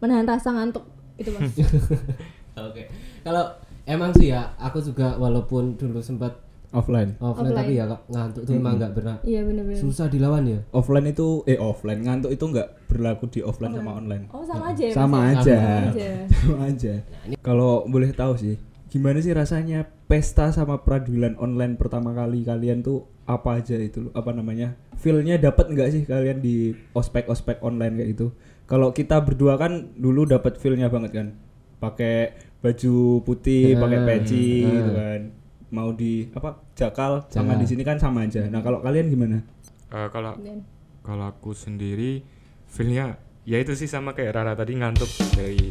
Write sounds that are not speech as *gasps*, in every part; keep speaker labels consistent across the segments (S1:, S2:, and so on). S1: menahan rasa ngantuk gitu mas
S2: Oke. Kalau emang sih ya, aku juga walaupun dulu sempat
S3: offline
S2: offline,
S1: Offline.
S2: tapi ya kak, ngantuk tuh emang nggak pernah
S1: iya bener-bener
S2: susah dilawan ya.
S3: offline itu eh offline ngantuk itu nggak berlaku di offline sama online
S1: oh sama aja ya Mas
S3: sama
S1: ya?
S3: aja
S1: Sama aja.
S3: *laughs* sama aja kalau boleh tahu sih gimana sih rasanya pesta sama peradulan online pertama kali kalian tuh apa aja itu apa namanya feelnya dapat nggak sih kalian di ospek ospek online kayak gitu kalau kita berdua kan dulu dapat feelnya banget kan pakai baju putih pakai peci gitu kan mau di apa jakal
S2: Jakal.
S3: sama di sini kan sama aja nah kalau kalian gimana
S4: Eh, kalau
S1: Dan-
S4: kalau aku sendiri feelnya ya itu sih sama kayak Rara tadi ngantuk dari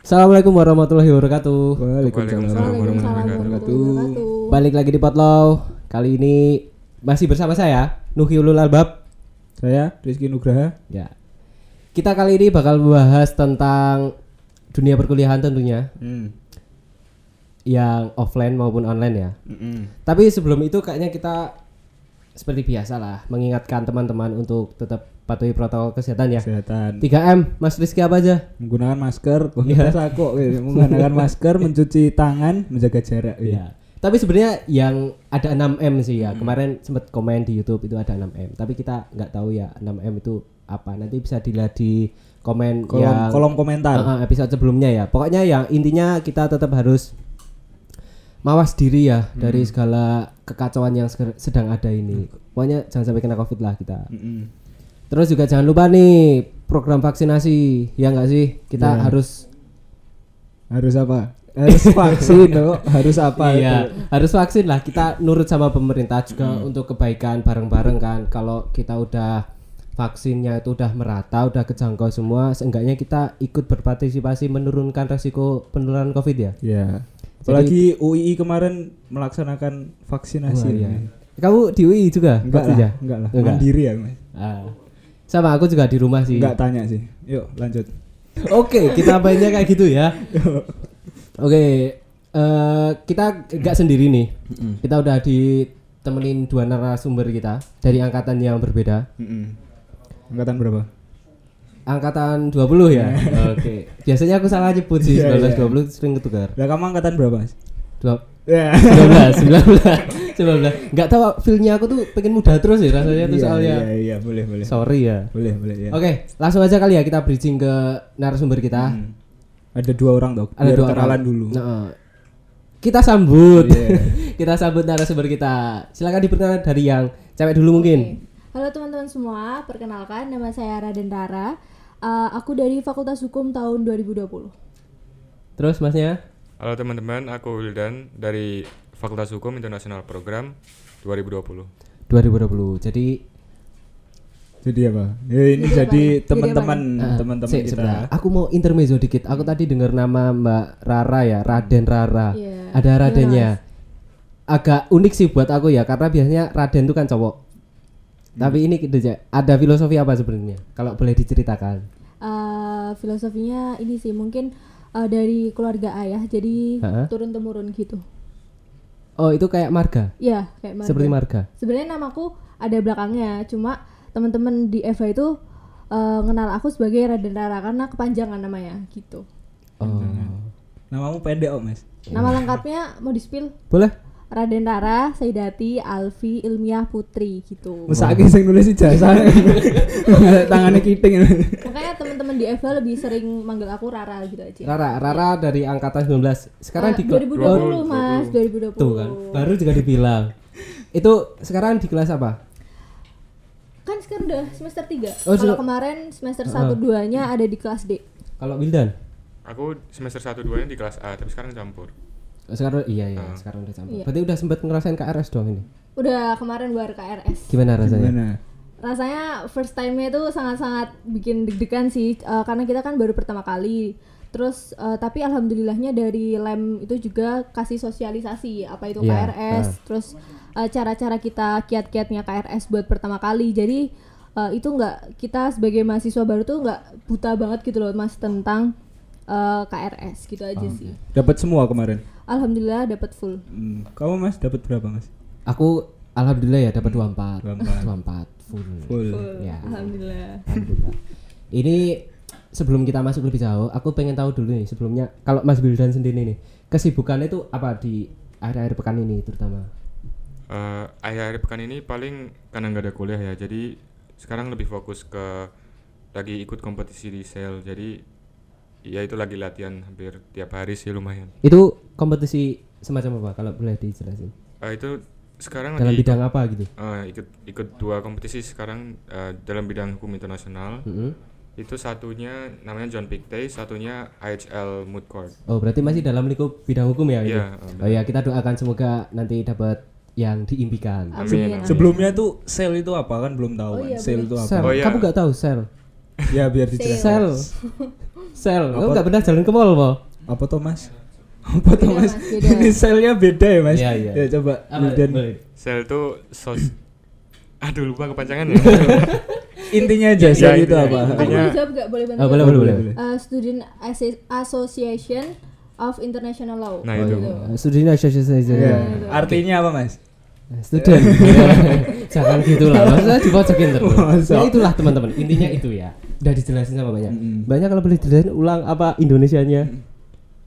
S2: Assalamualaikum warahmatullahi wabarakatuh.
S4: Waalaikumsalam warahmatullahi
S1: Waalaikumsalam warahmatullahi wabarakatuh
S2: Balik lagi di Potlow. Kali ini masih bersama saya Nuhiulul Albab.
S3: saya Rizky Nugraha
S2: Ya. Kita kali ini bakal membahas tentang dunia perkuliahan tentunya
S3: hmm.
S2: yang offline maupun online ya.
S3: Mm-mm.
S2: Tapi sebelum itu kayaknya kita seperti biasa lah mengingatkan teman-teman untuk tetap patuhi protokol kesehatan ya.
S3: kesehatan
S2: 3M, Mas Rizky apa aja?
S3: menggunakan masker
S2: Iya.
S3: pakai saku gitu. menggunakan masker mencuci tangan menjaga jarak gitu.
S2: Ya. Tapi sebenarnya yang ada 6M sih
S3: Hmm.
S2: ya. Kemarin sempat komen di YouTube itu ada 6M. Tapi kita nggak tahu ya 6M itu apa. Nanti bisa dilihat di komen
S3: kolom
S2: yang
S3: kolom komentar
S2: Eh, eh, episode sebelumnya ya. Pokoknya yang intinya kita tetap harus mawas diri ya
S3: Hmm.
S2: dari segala kekacauan yang seger- sedang ada ini.
S3: Hmm.
S2: Pokoknya jangan sampai kena Covid lah kita.
S3: Mm-mm.
S2: Terus juga jangan lupa nih program vaksinasi ya nggak sih kita
S3: Iya.
S2: harus
S3: harus apa harus vaksin dong harus apa
S2: iya harus vaksin lah kita nurut sama pemerintah juga
S3: Hmm.
S2: untuk kebaikan bareng-bareng kan kalau kita udah vaksinnya itu udah merata udah kejangkau semua seenggaknya kita ikut berpartisipasi menurunkan resiko penularan covid ya
S3: ya apalagi UII kemarin melaksanakan
S2: Wah,
S3: vaksinasi
S2: iya. kamu di UI juga
S3: enggak
S2: vaksin
S3: lah
S2: ya?
S3: enggak lah
S2: Enggak. Iya.
S3: mandiri ya Mas.
S2: Ah. sama aku juga di rumah sih
S3: enggak tanya sih yuk lanjut
S2: Oke, kita mainnya kayak gitu ya. Oke, eh, kita nggak sendiri nih. Kita udah ditemenin dua narasumber kita dari angkatan yang berbeda.
S3: Mm-mm. angkatan berapa
S2: Angkatan 20 ya. Oke. Biasanya aku salah nyebut sih,
S3: Iya,
S2: 19 20 sering ketukar.
S3: lah kamu angkatan berapa Mas?
S2: Dua-
S3: Ya.
S2: 19 19 19. Enggak tahu feel-nya aku tuh pengen muda terus ya rasanya tuh
S3: Iya,
S2: soalnya.
S3: iya iya boleh boleh
S2: Sorry ya.
S3: boleh boleh ya
S2: Oke, langsung aja kali ya kita bridging ke narasumber kita.
S3: Mm. ada dua orang dong
S2: ada
S3: biar
S2: dua
S3: kenalan
S2: orang.
S3: dulu Iya.
S2: Nah, kita sambut. *laughs* kita sambut narasumber kita. Silakan diperkenalkan dari yang cewek dulu mungkin.
S1: Halo teman-teman semua, perkenalkan nama saya Raden Rara. Eh, aku dari Fakultas Hukum tahun 2020.
S2: Terus masnya?
S4: Halo teman-teman, aku Wildan dari Fakultas Hukum Internasional Program 2020.
S2: 2020. Jadi
S3: Jadi apa? Ya, ini jadi teman-teman teman-teman
S2: sik,
S3: kita.
S2: sebentar. Aku mau intermezzo dikit. Aku tadi dengar nama Mbak Rara ya, Raden Rara.
S1: Iya.
S2: Ada Radennya. Agak unik sih buat aku ya, karena biasanya Raden itu kan
S3: Hmm.
S2: cowok. Tapi ini gitu aja. Ada filosofi apa sebenarnya? Kalau boleh diceritakan.
S1: Eh, filosofinya ini sih mungkin eh, dari keluarga ayah, jadi
S2: Ha-ha.
S1: turun temurun gitu.
S2: Oh, itu kayak marga.
S1: Ya kayak marga.
S2: Seperti marga.
S1: Sebenarnya namaku ada belakangnya, cuma teman-teman di Eva itu eh, kenal aku sebagai Raden Rara karena kepanjangan namanya gitu.
S2: Oh.
S3: Namamu pendek oh mas.
S1: Nama lengkapnya mau di-spill
S2: Boleh?
S1: Raden Rara, Saidati, Alfi, Ilmiah, Putri gitu.
S3: Mesake sing nulis *laughs* ijazah. Tangannya kiting.
S1: Makanya teman-teman di FL lebih sering manggil aku Rara gitu aja.
S2: Rara, Rara dari angkatan 19. Nah, Sekarang
S1: Ah,
S2: di kela-
S1: 2020 Mas, 2020.
S2: Tuh kan, baru juga dibilang. Itu sekarang di kelas apa?
S1: Kan sekarang udah semester 3.
S2: Oh,
S1: Kalau
S2: sudah.
S1: kemarin semester 1 2-nya ada di kelas D.
S2: Kalau Wildan?
S4: Aku semester 1 2 nya di kelas A, tapi sekarang campur.
S2: Oh, Sekarang iya iya, sekarang udah campur. Berarti udah sempat ngerasain KRS dong ini.
S1: Udah kemarin luar KRS.
S2: Gimana rasanya?
S3: Gimana?
S1: rasanya first time-nya itu sangat-sangat bikin deg-degan sih eh, karena kita kan baru pertama kali terus eh, tapi alhamdulillahnya dari lem itu juga kasih sosialisasi apa itu
S2: Iya,
S1: KRS terus eh, cara-cara kita kiat-kiatnya KRS buat pertama kali jadi eh, eh, itu nggak kita sebagai mahasiswa baru tuh nggak buta banget gitu loh mas tentang eh, KRS gitu aja
S2: Oh,
S1: sih.
S3: Dapat semua kemarin.
S1: Alhamdulillah dapat full.
S3: Hmm, Kamu Mas dapat berapa Mas?
S2: Aku alhamdulillah ya dapat 24.
S3: 24.
S2: 24 full.
S3: Full.
S2: Ya.
S1: Alhamdulillah.
S2: Alhamdulillah. Ini sebelum kita masuk lebih jauh, aku pengen tahu dulu nih sebelumnya kalau Mas Wildan sendiri nih, kesibukannya itu apa di akhir-akhir pekan ini terutama?
S4: Eh, akhir-akhir pekan ini paling karena nggak ada kuliah ya jadi sekarang lebih fokus ke lagi ikut kompetisi di sel jadi ya itu lagi latihan hampir tiap hari sih lumayan
S2: Itu kompetisi semacam apa kalau boleh dijelasin?
S4: Eh, itu sekarang
S2: Dalam
S4: lagi
S2: bidang apa gitu?
S4: eh, ikut ikut dua kompetisi sekarang eh, dalam bidang hukum internasional
S2: Mm-mm.
S4: itu satunya namanya John Pictet satunya IHL Moot Court
S2: Oh, berarti masih dalam lingkup bidang hukum ya? ini?
S4: Iya,
S2: Oh ya, kita doakan semoga nanti dapat yang diimpikan.
S1: Amin.
S3: Sebelumnya tuh sel itu apa kan belum tahu
S1: Oh, iya,
S3: kan. Sel
S1: bener.
S3: itu apa?
S2: Sel.
S4: Oh, iya.
S2: Kamu nggak tahu sel?
S3: Ya biar dijelasin.
S2: Sel. Sel. Kamu
S3: Apa?
S2: nggak pernah jalan ke mall, Bo?
S3: Apa tuh Mas? *laughs* Apa tuh
S1: Beda, Mas,
S3: Mas?
S1: beda.
S3: Ini selnya beda ya Mas.
S2: Iya, iya.
S3: Ya coba Wildan.
S4: sel itu sos *coughs* aduh lupa ya. kepanjangannya
S2: *laughs*
S3: Intinya aja
S4: Iya,
S3: sel itu
S4: intinya.
S3: apa?
S1: Aku
S4: Intinya-
S1: boleh jawab nggak boleh bantu?
S2: Oh, boleh, boleh, boleh.
S1: Eh, Student Assi- Association of International Law. Eh,
S4: nah itu
S2: Uh, Student association.
S3: Iya. Artinya apa Mas?
S2: Student. *laughs* Jangan gitu lah. Maksudnya dipojokin terus.
S3: Masa?
S2: Ya itulah teman-teman. Intinya itu ya. Udah dijelasin sama banyak. Banyak kalau boleh dijelasin ulang apa Indonesianya.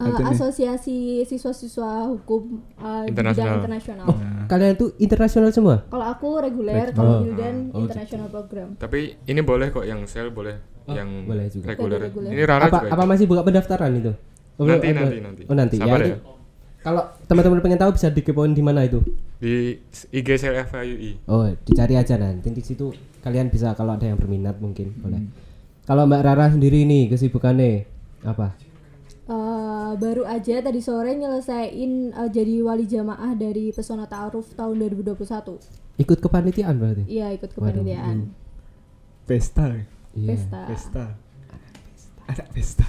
S1: Eh, asosiasi siswa-siswa hukum eh, di
S4: Internasional.
S1: bidang internasional.
S2: Oh, kalian tuh internasional semua?
S1: Kalau aku reguler, kalau
S2: Oh.
S1: Wildan international program.
S4: tapi ini boleh kok yang sel boleh yang
S2: Oh, boleh juga.
S4: reguler
S1: Reguler.
S4: ini Rara
S2: apa
S4: juga
S2: apa masih buka pendaftaran itu? Oh,
S4: Nanti,
S2: belum-
S4: nanti,
S2: oh,
S4: nanti.
S2: Oh, nanti.
S4: Sabar
S2: ya.
S4: ya.
S2: itu- Kalau teman-teman pengen tahu bisa dikepoin di mana itu?
S4: di IG sel FIUI
S2: Oh, dicari aja nanti di situ kalian bisa kalau ada yang berminat mungkin
S4: Hmm.
S2: boleh. Kalau Mbak Rara sendiri nih kesibukannya apa?
S1: Eh, baru aja tadi sore nyelesain eh, jadi wali jamaah dari Pesona Ta'aruf tahun 2021.
S2: Ikut kepanitiaan berarti?
S1: Iya, ikut kepanitiaan
S3: Pesta. ya.
S2: Iya,
S1: pesta. *laughs*
S3: Pesta. Anak pesta.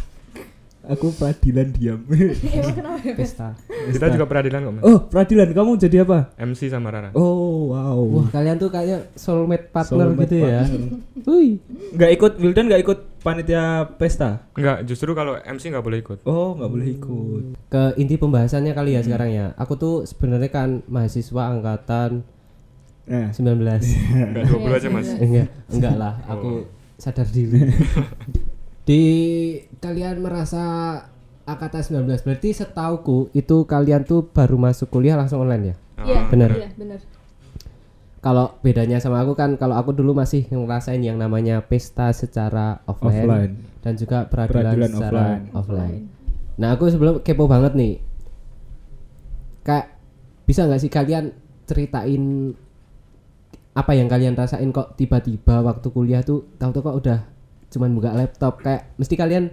S3: Aku peradilan diam.
S1: Emang kenapa?
S2: Pesta.
S4: kita juga peradilan kok Mas.
S3: *laughs* oh, peradilan kamu jadi apa?
S4: MC sama Rara
S3: Oh, wow.
S2: Wah, kalian tuh kayaknya soulmate partner
S3: Soulmate
S2: gitu ya.
S3: partner.
S2: *laughs* Wih.
S3: Nggak ikut Wildan nggak ikut panitia pesta.
S4: Enggak, justru kalau MC nggak boleh ikut.
S3: Oh, nggak boleh ikut.
S2: Ke inti pembahasannya kali ya
S4: Hmm.
S2: sekarang ya. Aku tuh sebenarnya kan mahasiswa angkatan
S3: Nah,
S2: 19.
S4: Enggak 20
S2: Iya,
S4: aja, Mas.
S2: enggak, enggak lah. Aku sadar diri. Di kalian merasa angkatan 19 berarti setauku itu kalian tuh baru masuk kuliah langsung online ya?
S1: Iya,
S2: Bener.
S1: Iya, benar.
S2: kalau bedanya sama aku kan kalau aku dulu masih ngerasain yang namanya pesta secara offline,
S3: Offline.
S2: dan juga peradilan,
S3: Peradilan
S2: secara
S3: offline.
S2: offline. Nah aku sebelum kepo banget nih, kak bisa nggak sih kalian ceritain apa yang kalian rasain kok tiba-tiba waktu kuliah tuh tahu-tahu kok udah cuman buka laptop kayak mesti kalian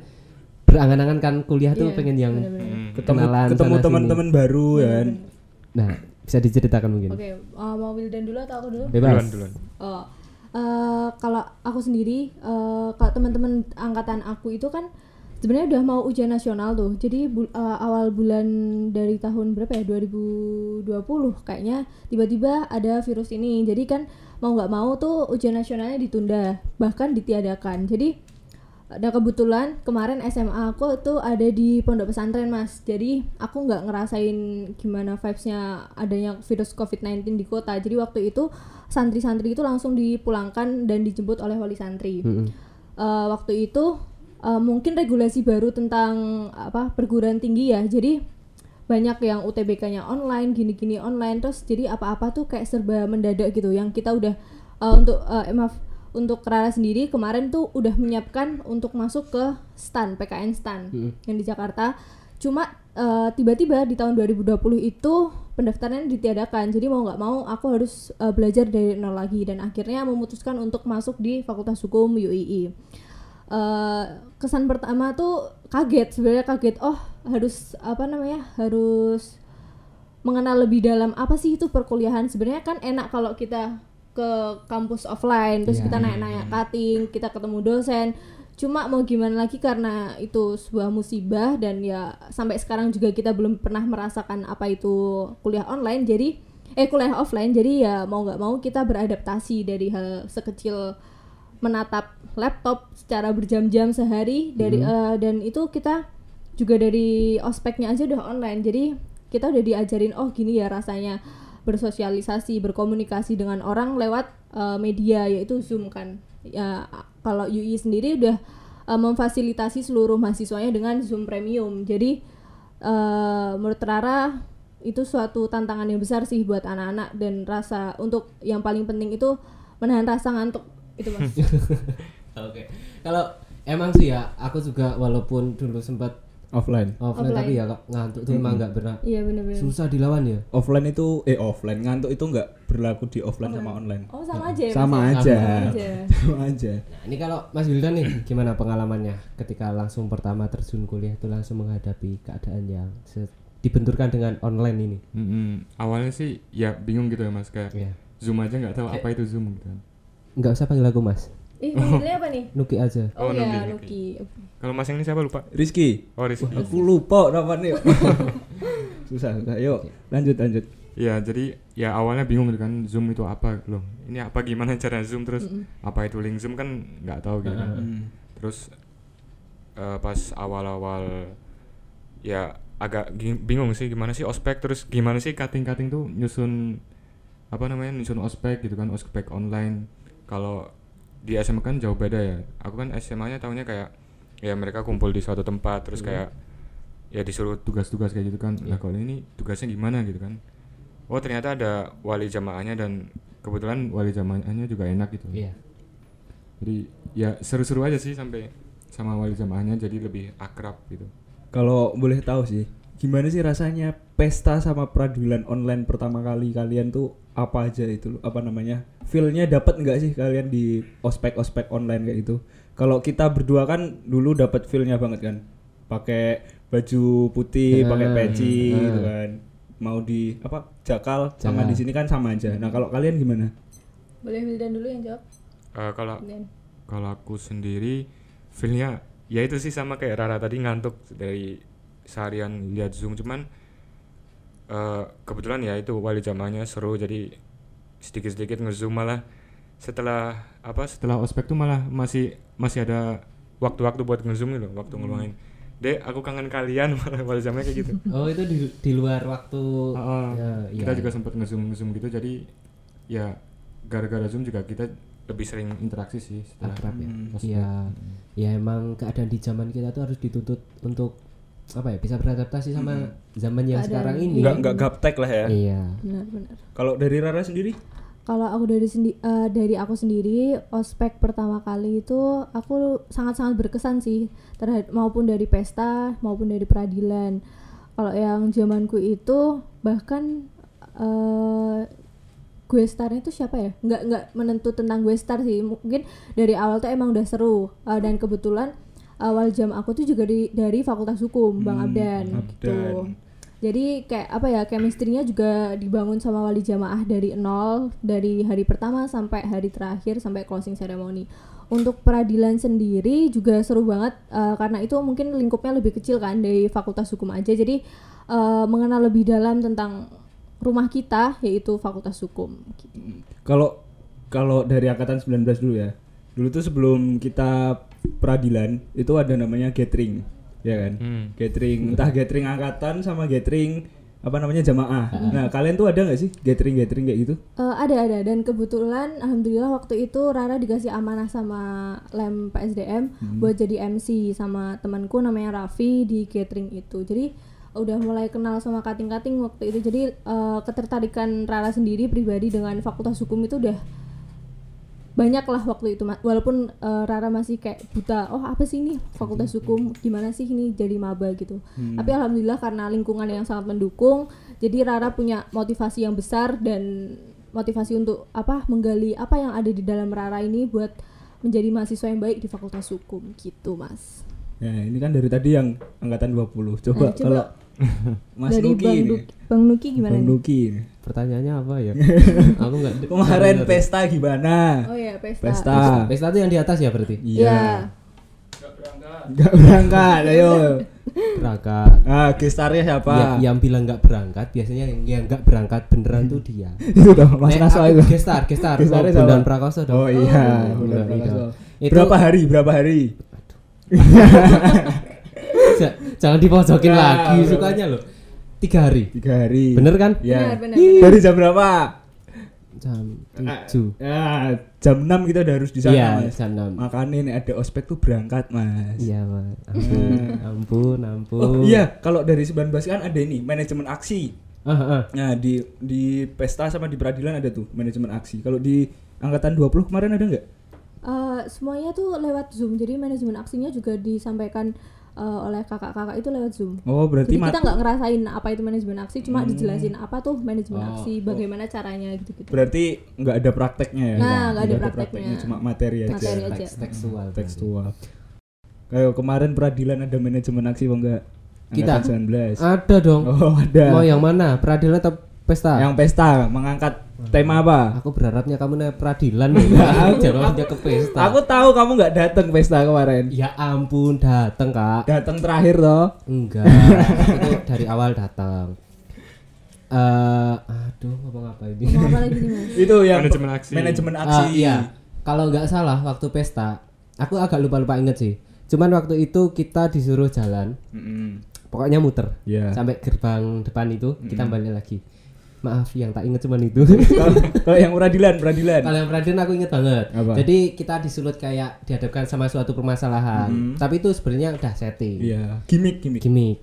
S2: berangan-angan kan kuliah tuh
S1: Iya,
S2: pengen yang
S1: bener-bener.
S3: ketemu
S2: kenalan
S3: Hmm. ketemu
S2: sana-sini.
S3: teman-teman baru ya kan.
S2: nah bisa diceritakan mungkin
S1: Oke, eh, mau Wildan dulu atau aku dulu?
S2: Iya. bebas
S4: Duluan, duluan.
S1: Oh, eh, kalau aku sendiri, eh, kalau teman-teman angkatan aku itu kan sebenarnya udah mau ujian nasional tuh. Jadi bul- eh, awal bulan dari tahun berapa ya? 2020 kayaknya tiba-tiba ada virus ini. Jadi kan mau nggak mau tuh ujian nasionalnya ditunda, bahkan ditiadakan. Jadi Nah kebetulan kemarin SMA aku tuh ada di pondok pesantren mas Jadi aku nggak ngerasain gimana vibesnya adanya virus COVID-19 di kota Jadi waktu itu santri-santri itu langsung dipulangkan dan dijemput oleh wali santri Eh, Waktu itu eh, mungkin regulasi baru tentang apa perguruan tinggi ya Jadi banyak yang UTBK-nya online, gini-gini online, terus jadi apa-apa tuh kayak serba mendadak gitu. Yang kita udah uh, untuk uh, eh, maaf untuk Rara sendiri kemarin tuh udah menyiapkan untuk masuk ke STAN, PKN STAN yang di Jakarta. Cuma uh, tiba-tiba di tahun 2020 itu pendaftarannya ditiadakan. Jadi mau nggak mau aku harus uh, belajar dari nol lagi dan akhirnya memutuskan untuk masuk di Fakultas Hukum UII. Eh, kesan pertama tuh kaget sebenarnya kaget oh harus apa namanya harus mengenal lebih dalam apa sih itu perkuliahan sebenarnya kan enak kalau kita ke kampus offline terus kita nanya-nanya cutting kita ketemu dosen cuma mau gimana lagi karena itu sebuah musibah dan ya sampai sekarang juga kita belum pernah merasakan apa itu kuliah online jadi eh kuliah offline jadi ya mau nggak mau kita beradaptasi dari hal sekecil menatap laptop secara berjam-jam sehari dari eh, dan itu kita juga dari ospeknya aja udah online. Jadi kita udah diajarin oh gini ya rasanya bersosialisasi, berkomunikasi dengan orang lewat eh, media yaitu Zoom kan. Ya kalau UI sendiri udah eh, memfasilitasi seluruh mahasiswanya dengan Zoom Premium. Jadi eh menurut Rara itu suatu tantangan yang besar sih buat anak-anak dan rasa untuk yang paling penting itu menahan rasa ngantuk itu mas
S3: *laughs*
S2: Oke. Kalau emang sih ya, aku juga walaupun dulu sempat
S3: offline
S2: offline,
S1: Offline.
S2: tapi ya kok ngantuk tuh emang nggak pernah
S1: iya bener-bener
S2: susah dilawan ya.
S3: offline itu eh offline ngantuk itu nggak berlaku di offline sama online
S1: oh sama aja ya, Mas, ya?
S3: sama aja
S1: aja.
S3: *laughs* sama aja
S2: Nah, ini kalau Mas Wildan nih gimana pengalamannya ketika langsung pertama terjun kuliah itu langsung menghadapi keadaan yang se- dibenturkan dengan online ini.
S4: Mm-mm. awalnya sih ya bingung gitu ya mas kayak
S2: Ya.
S4: zoom aja nggak tahu apa itu zoom gitu
S2: Nggak usah panggil aku Mas.
S3: *laughs*
S1: ih panggilnya apa nih
S2: Nuki aja.
S1: oh,
S4: Oh,
S1: ya
S4: Nuki,
S1: Nuki
S4: kalau mas yang ini siapa lupa
S3: Rizky
S4: oh Rizky
S3: aku lupa namanya *laughs* susah susah yuk lanjut lanjut
S4: Iya, jadi ya awalnya bingung gitu kan Zoom itu apa loh. Ini apa gimana cara Zoom terus apa itu link Zoom kan nggak tahu gitu kan. Terus eh, pas awal-awal ya agak gi- bingung sih gimana sih ospek terus gimana sih cutting-cutting tuh nyusun apa namanya nyusun ospek gitu kan ospek online. Kalau di SMA kan jauh beda ya. Aku kan SMA-nya tahunya kayak ya mereka kumpul di suatu tempat terus kayak ya disuruh tugas-tugas kayak gitu kan. Lah kalau ini tugasnya gimana gitu kan. Oh ternyata ada wali jamaahnya dan kebetulan wali jamaahnya juga enak gitu.
S2: Iya.
S4: Jadi ya seru-seru aja sih sampai sama wali jamaahnya jadi lebih akrab gitu.
S3: Kalau boleh tahu sih, gimana sih rasanya pesta sama pradulan online pertama kali kalian tuh apa aja itu loh, apa namanya? Feel-nya dapat nggak sih kalian di ospek-ospek online kayak gitu? Kalau kita berdua kan dulu dapat feel-nya banget kan. Pakai baju putih, pakai peci gitu kan. Mau di apa? Jakal sama
S2: Jakal.
S3: di sini kan sama aja. Nah, kalau kalian gimana?
S1: boleh Wildan dulu yang jawab
S4: Eh, kalau
S1: Wildan
S4: kalau aku sendiri feelnya ya itu sih sama kayak Rara tadi ngantuk dari seharian lihat Zoom cuman eh, kebetulan ya itu wali jamaahnya seru jadi sedikit-sedikit ngezoom malah setelah apa setelah ospek tuh malah masih masih ada waktu-waktu buat ngezoom gitu waktu ngeluangin dek aku kangen kalian *laughs* malah wali jamaahnya kayak gitu
S2: Oh, itu di, di luar waktu
S4: Heeh.
S2: Ya, iya.
S4: kita juga sempat ngezoom ngezoom gitu jadi ya gara-gara zoom juga kita lebih sering interaksi sih setelah
S2: akrab ya.
S3: Hmm.
S4: ospek.
S2: Iya. Ya emang keadaan di zaman kita tuh harus dituntut untuk apa ya bisa beradaptasi sama
S3: Hmm.
S2: zaman yang sekarang ini.
S3: Nggak nggak gaptek lah ya.
S2: Iya.
S1: benar-benar
S3: Kalau dari Rara sendiri?
S1: Kalau aku dari sendi eh, dari aku sendiri ospek pertama kali itu aku sangat-sangat berkesan sih terhadap maupun dari pesta maupun dari peradilan. Kalau yang zamanku itu bahkan eh gue starnya itu siapa ya? Nggak nggak menentu tentang gue star sih. Mungkin dari awal tuh emang udah seru Eh, dan kebetulan awal jam aku tuh juga di- dari Fakultas Hukum Bang Abdan, gitu. Jadi kayak apa ya chemistry-nya juga dibangun sama wali jamaah dari nol dari hari pertama sampai hari terakhir sampai closing ceremony. Untuk peradilan sendiri juga seru banget eh, karena itu mungkin lingkupnya lebih kecil kan dari fakultas hukum aja. Jadi eh, mengenal lebih dalam tentang rumah kita yaitu fakultas hukum.
S3: Kalau kalau dari angkatan 19 dulu ya. Dulu tuh sebelum kita peradilan itu ada namanya gathering, ya kan?
S4: Hmm.
S3: Gathering entah gathering angkatan sama gathering apa namanya jamaah. Nah, kalian tuh ada nggak sih gathering-gathering kayak gitu?
S1: Eh, ada ada dan kebetulan alhamdulillah waktu itu Rara dikasih amanah sama lem PSDM buat jadi MC sama temanku namanya Raffi di catering itu jadi udah mulai kenal sama kating-kating waktu itu jadi eh, ketertarikan Rara sendiri pribadi dengan fakultas hukum itu udah banyak lah waktu itu Ma- walaupun eh, Rara masih kayak buta oh apa sih ini fakultas
S3: Hmm.
S1: hukum gimana sih ini jadi maba gitu tapi alhamdulillah karena lingkungan yang sangat mendukung jadi Rara punya motivasi yang besar dan motivasi untuk apa menggali apa yang ada di dalam Rara ini buat menjadi mahasiswa yang baik di fakultas hukum gitu mas
S3: Nah, ini kan dari tadi yang angkatan 20. Coba
S1: Nah, coba *laughs*
S3: kalau Mas
S1: dari
S3: Nuki
S1: Bang,
S3: ini.
S1: Duki- Bang Nuki gimana
S3: Bang
S1: nih?
S3: Nuki ini.
S2: Pertanyaannya apa
S3: *laughs*
S2: ya? Aku nggak.
S3: Kemarin Ah. pesta gimana?
S1: oh ya pesta,
S3: Pesta. Iya.
S2: Pesta itu yang di atas ya berarti.
S1: Iya.
S3: Nggak berangkat, ayo.
S2: Raka
S3: Ah, gestarnya siapa?
S2: Ya-
S1: Iya,
S2: yang bilang nggak berangkat biasanya yang yang nggak berangkat beneran tuh dia
S3: itu dong, *laughs* Mas
S2: Nek,
S3: Naso
S2: aku
S3: itu.
S2: gestar gestar oh,
S3: *laughs* Gestarnya
S2: Bondan
S3: siapa?
S2: Prakoso dong
S3: Oh iya,
S2: Oh, Bondan
S3: benar, Mas
S2: Prakoso.
S3: Naso.
S2: Itu-
S3: Berapa hari? Berapa hari?
S2: Ja- jangan dipojokin
S3: Ya,
S2: lagi
S3: bener.
S2: sukanya loh tiga hari
S3: Tiga hari.
S2: bener kan
S1: Benar,
S3: Ya.
S1: benar. benar.
S3: Dari jam berapa?
S2: jam
S3: Ah,
S2: tujuh
S3: ah, jam 6 kita udah harus di sana,
S2: iya
S3: Mas.
S2: jam enam
S3: Makanya nih ada ospek tuh berangkat, Mas.
S2: iya
S3: *laughs*
S2: mas ampun ampun ampun
S3: Oh iya, kalau dari 19 kan ada ini, manajemen aksi.
S2: Ah, ah.
S3: Nah, di di pesta sama di peradilan ada tuh manajemen aksi. Kalau di angkatan 20 kemarin ada nggak?
S1: Eh, semuanya tuh lewat Zoom. Jadi manajemen aksinya juga disampaikan eh, oleh kakak-kakak itu lewat Zoom.
S3: Oh, berarti
S1: Jadi
S3: ma- Hmm.
S1: kita nggak ngerasain apa itu manajemen aksi, cuma dijelasin apa tuh manajemen aksi, bagaimana caranya gitu-gitu.
S3: Oh, berarti nggak ada prakteknya ya?
S1: Nah, nggak ada prakteknya.
S3: cuma materi aja.
S1: Materi aja.
S2: teks tekstual
S3: Iya, Tekstual. Kayak kemarin peradilan ada manajemen aksi apa enggak?
S2: Kita?
S3: Angkatan 19.
S2: ada dong
S3: *laughs* Oh, ada.
S2: mau yang mana peradilan atau pesta
S3: Yang pesta mengangkat tema apa?
S2: Aku berharapnya kamu naik peradilan *laughs* ya. Jawabnya ke pesta.
S3: Iya. Aku tahu kamu nggak datang pesta kemarin.
S2: Ya ampun dateng kak.
S3: Datang terakhir toh. *laughs*
S2: Enggak. itu dari awal datang. Eh, aduh ngomong apa ini?
S1: Mau apa lagi nih mas?
S3: Itu yang
S4: Manajemen aksi.
S3: Manajemen aksi.
S2: Ah, iya. Kalau nggak salah waktu pesta, aku agak lupa-lupa inget sih. Cuman waktu itu kita disuruh jalan,
S3: Mm-mm.
S2: pokoknya muter
S3: Iya.
S2: sampai gerbang depan itu kita balik lagi. Maaf yang tak inget cuman
S3: *laughs*
S2: itu.
S3: Kalau kalau yang peradilan, peradilan.
S2: Kalau yang peradilan aku inget banget.
S3: Apa?
S2: Jadi kita disulut kayak dihadapkan sama suatu permasalahan. Tapi itu sebenarnya udah setting.
S3: Iya, gimmick gimmick.
S2: Gimik.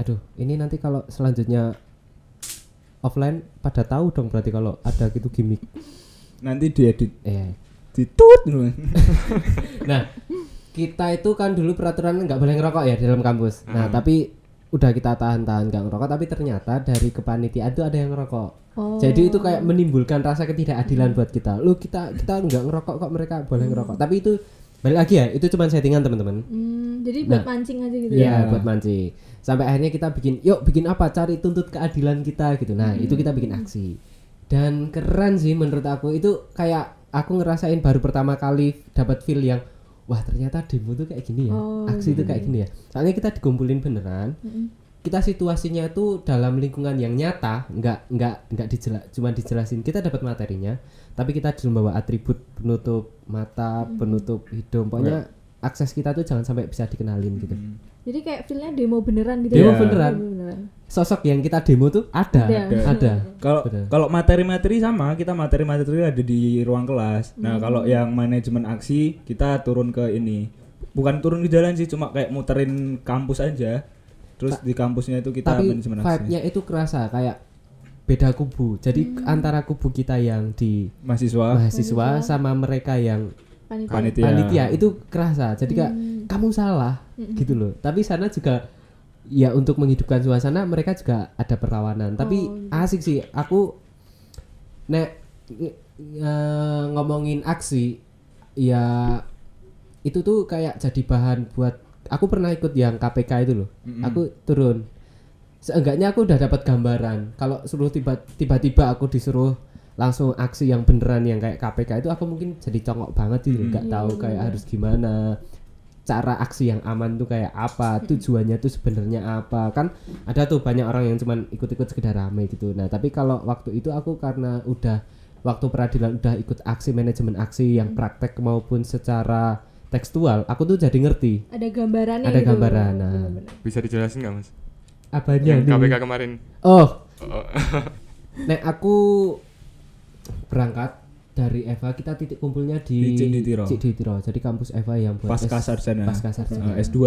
S2: Aduh, ini nanti kalau selanjutnya offline pada tahu dong berarti kalau ada gitu gimik.
S3: Nanti diedit
S2: Eh.
S3: ditut dulu.
S2: Nah, kita itu kan dulu peraturan nggak boleh ngerokok ya di dalam kampus. Nah, tapi udah kita tahan-tahan nggak ngerokok tapi ternyata dari kepanitiaan itu ada yang ngerokok.
S1: Oh.
S2: Jadi itu kayak menimbulkan rasa ketidakadilan buat kita. Lu kita kita nggak ngerokok kok mereka boleh ngerokok. Tapi itu balik lagi ya, itu cuma settingan teman-teman.
S1: Hmm, jadi buat mancing aja gitu ya.
S2: Nah. Iya, buat mancing. Sampai akhirnya kita bikin, yuk bikin apa? Cari tuntut keadilan kita gitu. Nah, itu
S1: Hmm.
S2: kita bikin aksi. Dan keren sih menurut aku. Itu kayak aku ngerasain baru pertama kali dapat feel yang wah, ternyata demo tuh kayak gini ya.
S1: Oh, Hmm.
S2: aksi itu kayak gini ya. Soalnya kita dikumpulin beneran. Kita situasinya itu dalam lingkungan yang nyata, nggak nggak nggak dijela- cuma dijelasin. Kita dapat materinya, tapi kita cuma bawa atribut penutup mata,
S1: Hmm.
S2: penutup hidung. Pokoknya akses kita tuh jangan sampai bisa dikenalin gitu.
S1: Jadi kayak feelnya demo beneran gitu.
S2: Demo
S1: ya?
S2: beneran.
S1: Demo beneran.
S2: sosok yang kita demo tuh ada
S1: Ada.
S2: ada,
S3: Kalau
S2: Betul.
S3: kalau materi-materi sama, kita materi-materi ada di ruang kelas. Nah,
S2: Hmm.
S3: kalau yang manajemen aksi, kita turun ke ini. Bukan turun ke jalan sih, cuma kayak muterin kampus aja. Terus di kampusnya itu kita
S2: tapi
S3: manajemen aksi.
S2: vibe-nya itu kerasa kayak beda kubu jadi antara kubu kita yang di
S3: Mahasiswa,
S2: mahasiswa sama mereka yang
S1: Panitia.
S3: panitia.
S2: panitia itu kerasa jadi kayak kamu salah gitu loh tapi sana juga ya untuk menghidupkan suasana mereka juga ada perlawanan tapi asik sih aku nek nge- nge- ngomongin aksi ya itu tuh kayak jadi bahan buat aku pernah ikut yang KPK itu loh aku turun seenggaknya aku udah dapat gambaran kalau suruh tiba tiba-tiba aku disuruh langsung aksi yang beneran yang kayak KPK itu aku mungkin jadi congok banget sih nggak tahu kayak harus gimana cara aksi yang aman tuh kayak apa tujuannya tuh sebenarnya apa kan ada tuh banyak orang yang cuman ikut-ikut sekedar rame gitu nah tapi kalau waktu itu aku karena udah waktu peradilan udah ikut aksi manajemen aksi yang praktek maupun secara tekstual aku tuh jadi ngerti
S1: Ada gambarannya
S2: Ada
S1: gitu.
S2: gambaran, nah.
S1: Bener-bener.
S4: bisa dijelasin nggak mas
S2: apanya
S4: yang
S2: nih
S4: KPK kemarin
S2: oh
S4: Oh,
S2: nek aku berangkat dari Eva kita titik kumpulnya di
S3: Di Ciditiro.
S2: Ciditiro. jadi kampus Eva yang buat
S3: pasca
S2: S-
S3: sarjana.
S2: pasca sarjana. Ah,
S3: Eh, S2.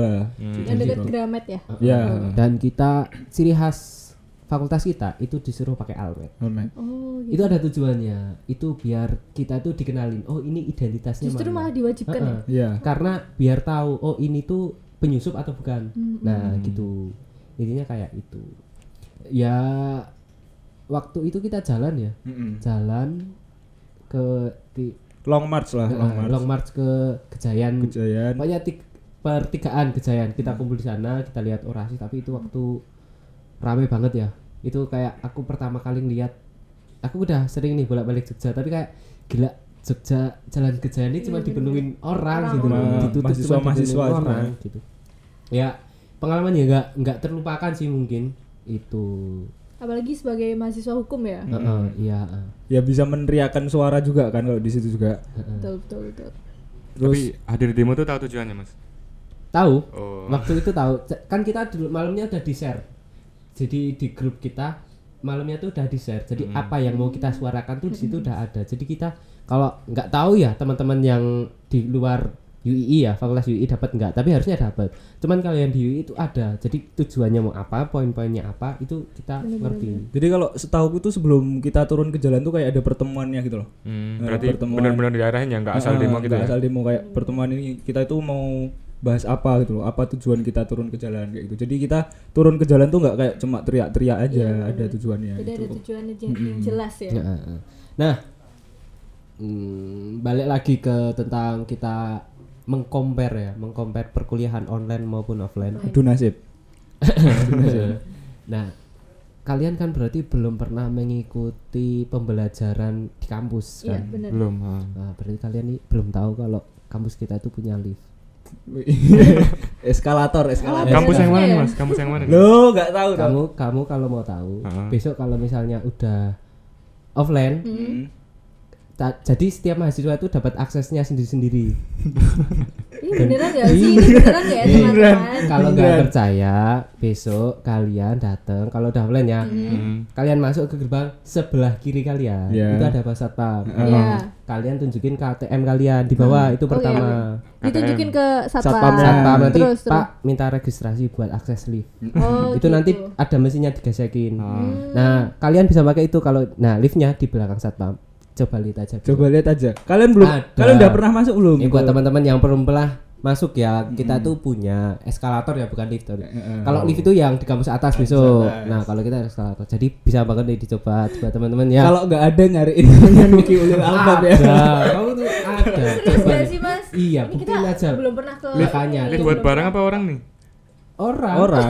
S1: Yang dekat
S2: gitu.
S1: Gramet ya.
S3: Ya.
S2: dan kita ciri khas fakultas kita itu disuruh pakai almet
S3: Alright.
S1: Oh, gitu.
S2: itu ada tujuannya itu biar kita tuh dikenalin oh ini identitasnya
S1: Justru
S2: mana.
S1: malah diwajibkan ya.
S2: Heeh.
S3: Iya.
S2: karena biar tahu oh ini tuh penyusup atau bukan nah gitu intinya kayak itu ya waktu itu kita jalan ya
S3: Mm-mm.
S2: jalan ke ti-
S3: Long march lah, long
S2: eh,
S3: march.
S2: long march ke Kejayan
S3: Kejayaan.
S2: pokoknya tik- pertigaan Kejayan kita kumpul di sana kita lihat orasi tapi itu waktu rame banget ya itu kayak aku pertama kali ngeliat aku udah sering nih bolak-balik Jogja tapi kayak gila Jogja jalan Kejayan ini cuma dipenuhin orang gitu loh
S3: Orang.
S2: ditutup cuma
S3: Mahasiswa-mahasiswa
S2: dipenuhin
S3: cuma.
S2: orang gitu ya pengalaman ya nggak nggak terlupakan sih mungkin itu
S1: apalagi sebagai mahasiswa hukum ya
S2: Heeh, iya heeh.
S3: ya bisa meneriakan suara juga kan kalau di situ juga
S2: Nah.
S1: betul betul betul
S4: Tapi hadir demo tuh tahu tujuannya mas?
S2: tahu
S4: Oh.
S2: waktu itu tahu C- kan kita dulu malamnya udah di share jadi di grup kita malamnya tuh udah di share jadi apa yang mau kita suarakan tuh di situ udah ada jadi kita kalau nggak tahu ya teman-teman yang di luar UII ya fakultas UII dapat nggak tapi harusnya dapat cuman kalau yang di UII itu ada jadi tujuannya mau apa poin-poinnya apa itu kita ngerti
S3: jadi kalau setahu itu sebelum kita turun ke jalan tuh kayak ada pertemuannya gitu loh
S4: Hmm,
S3: Eh,
S4: berarti
S3: pertemuan.
S4: benar-benar diarahin ya nggak asal
S3: Nah,
S4: demo gitu
S3: nggak
S4: ya?
S3: asal demo kayak pertemuan ini kita itu mau bahas apa gitu loh apa tujuan kita turun ke jalan kayak gitu jadi kita turun ke jalan tuh nggak kayak cuma teriak-teriak aja
S2: Iya,
S3: ada tujuannya
S1: jadi
S3: gitu
S1: ada tujuannya je- yang jelas ya
S2: Nah, Ya, eh, eh. Nah, mm, balik lagi ke tentang kita mengcompare ya, mengcompare perkuliahan online maupun offline.
S3: aduh nasib
S2: *laughs* nah, kalian kan berarti belum pernah mengikuti pembelajaran di kampus
S1: iya
S2: kan?
S1: benar
S4: Belum. ah.
S2: Nah, berarti kalian nih belum tahu kalau kampus kita itu punya lift.
S3: eskalator eskalator
S4: Kampus yang mana
S1: Iya.
S4: mas? Kampus yang mana?
S3: lo nggak tahu dong
S2: Kamu kamu kalau mau tahu,
S4: Ah.
S2: besok kalau misalnya udah offline,
S1: Mm-hmm.
S2: ta- jadi setiap mahasiswa itu dapat aksesnya sendiri-sendiri.
S1: ini beneran
S2: Iya.
S1: nggak sih ini beneran nggak ya teman-teman
S2: kalau nggak percaya besok kalian datang kalau udah offline ya
S1: Mm-hmm.
S4: Hmm.
S2: kalian masuk ke gerbang sebelah kiri kalian
S3: Iya.
S2: itu ada pas satpam
S1: Iya.
S2: kalian tunjukin KTM kalian di bawah itu pertama
S1: ditunjukin ke Mm. Oh, iya. satpam
S3: Satpamnya.
S2: satpam nanti
S1: Terus, terus.
S2: pak minta registrasi buat akses lift
S1: oh
S2: *laughs* itu nanti ada mesinnya digesekin nah kalian bisa pakai itu kalau nah liftnya di belakang satpam coba lihat aja
S3: coba lihat aja kalian belum
S2: Ada.
S3: kalian udah pernah masuk belum
S2: Eh, buat teman-teman yang belum pernah masuk ya, kita tuh punya eskalator ya, bukan lift. sorry. Kalau lift itu yang di kampus atas besok. Nah, kalau kita ada eskalator. Jadi bisa banget nih dicoba buat teman-teman ya.
S3: kalau nggak ada nyariin *laughs* namanya Nuki Ulil Albab ya
S2: ada, kamu tuh ada.
S1: terus
S2: Coba.
S1: nggak sih mas
S2: Iya,
S1: ini kita
S2: buktiin aja.
S1: belum pernah ke
S2: Makanya
S4: Ini buat barang apa orang nih?
S2: orang,
S3: orang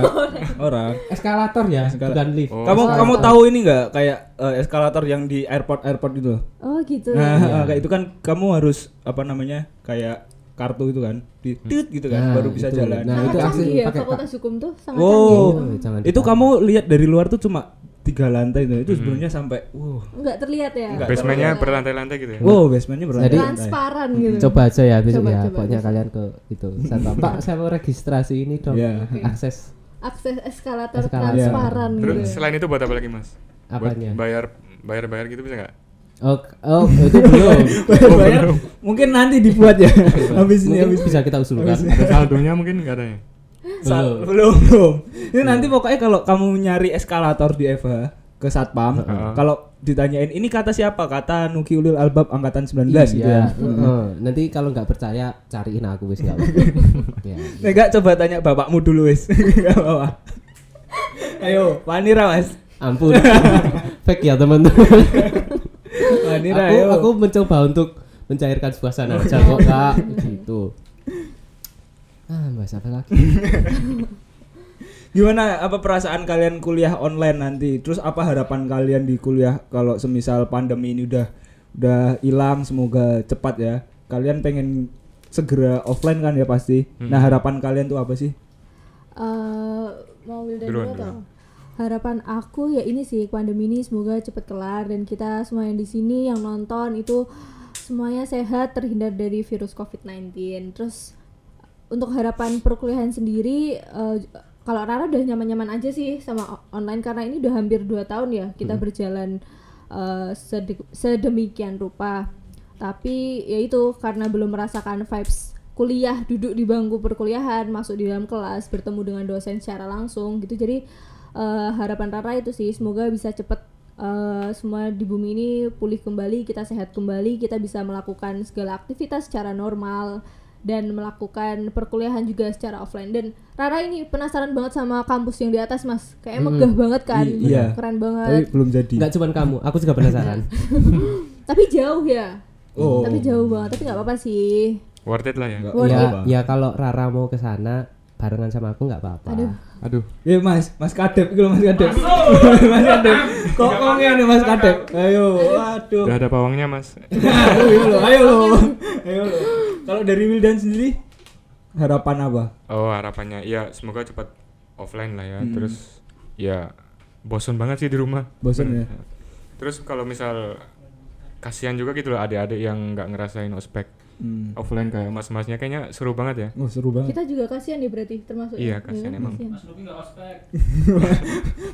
S3: orang
S2: eskalator ya, bukan lift.
S4: Oh.
S3: kamu kamu tahu ini nggak kayak eh, eskalator yang di airport airport itu loh
S1: oh gitu
S3: Nah,
S2: Iya.
S3: *laughs* kayak itu kan kamu harus apa namanya? Kayak kartu itu kan, di tit gitu kan, baru bisa
S2: itu.
S3: jalan.
S2: Hmm. Nah, itu
S1: sangat
S2: aksi
S1: canggih ya
S2: pakai
S1: fakultas hukum tuh sangat canggih
S3: oh,
S2: canggih. Hmm. Jangan
S3: itu kamu lihat dari luar tuh cuma tiga lantai itu, itu sebenarnya sampai wow.
S1: nggak terlihat ya
S4: Basementnya berlantai-lantai gitu ya?
S3: Wow, basementnya berlantai.
S1: transparan gitu
S2: coba aja ya besok
S1: Coba,
S2: ya.
S1: coba,
S2: Pokoknya kalian ke itu.
S3: *laughs*
S2: Satpam, Pak, saya mau registrasi ini dong.
S3: Iya.
S2: Akses
S1: akses eskalator,
S2: Eskalator.
S1: transparan gitu
S4: iya. Terus selain itu buat apa lagi mas? Buat
S2: apanya?
S4: bayar bayar-bayar gitu bisa nggak?
S2: Oh, oh, itu *laughs* belum.
S3: Bayar, mungkin nanti dibuat ya. *laughs* habis ini
S2: Mungkin
S3: habis
S2: bisa kita usulkan.
S4: Ada saldonya mungkin nggak ada ya?
S3: Sa- belum belum. Ini nanti pokoknya kalau kamu nyari eskalator di Eva ke satpam, kalau ditanyain ini kata siapa? Kata Nuki Ulil Albab angkatan 19 gitu ya.
S2: Iya. heeh. Nanti kalau nggak percaya cariin aku wis nggak *laughs* apa-apa. Ya.
S3: Enggak Eh, coba tanya bapakmu dulu wis. *laughs* Enggak apa-apa. Ayo, Vanira Mas.
S2: *laughs* Ampun. Fake ya teman-teman.
S3: Vanira
S2: aku,
S3: ayo.
S2: aku mencoba untuk mencairkan suasana aja kok kak gitu. Ah, bahas apa lagi?
S3: Gimana apa perasaan kalian kuliah online nanti? Terus apa harapan kalian di kuliah kalau semisal pandemi ini udah udah hilang semoga cepat ya. Kalian pengen segera offline kan ya pasti. Nah, harapan kalian tuh apa sih?
S1: Eh, mau Wildan dulu
S4: Duluan,
S1: atau? harapan aku ya ini sih pandemi ini semoga cepat kelar dan kita semua yang di sini yang nonton itu semuanya sehat terhindar dari virus COVID-19 terus untuk harapan perkuliahan sendiri eh, kalau Rara udah nyaman-nyaman aja sih sama o- online karena ini udah hampir 2 tahun ya
S4: Hmm.
S1: kita berjalan eh, sede- sedemikian rupa tapi ya itu karena belum merasakan vibes kuliah duduk di bangku perkuliahan masuk di dalam kelas bertemu dengan dosen secara langsung gitu jadi eh, harapan Rara itu sih semoga bisa cepet eh, semua di bumi ini pulih kembali kita sehat kembali kita bisa melakukan segala aktivitas secara normal dan melakukan perkuliahan juga secara offline dan Rara ini penasaran banget sama kampus yang di atas mas kayak megah banget kan
S3: I- iya.
S1: keren
S3: Tapi
S1: banget
S3: belum jadi.
S2: Nggak cuman kamu, aku juga penasaran.
S1: *gasps* tapi jauh ya
S3: Oh.
S1: tapi jauh banget tapi nggak apa-apa sih
S4: Worth it lah ya.
S3: Nggak- nggak apa.
S2: ya, ya kalau Rara mau ke sana barengan sama aku nggak apa-apa.
S4: Aduh.
S3: Eh Mas, Mas Kadep iku lho, Mas Kadep. *laughs* mas Kadep. Kok kok ngene Mas Kadep? Ayo, waduh.
S4: Udah ada pawangnya mas.
S3: ayo lo, ayo lo, ayo lo. Kalau dari Wildan sendiri harapan apa?
S4: Oh harapannya ya semoga cepat offline lah ya
S3: Hmm.
S4: terus ya bosen banget sih di rumah
S3: Bosen ya?
S4: terus kalau misal kasihan juga gitu loh adik-adik yang nggak ngerasain ospek
S3: Hmm.
S4: offline kayak mas-masnya kayaknya seru banget ya
S3: Oh seru banget.
S1: Kita juga kasihan ya berarti termasuk ya?
S4: Iya, kasihan
S1: kan?
S4: emang.
S1: Kasihan.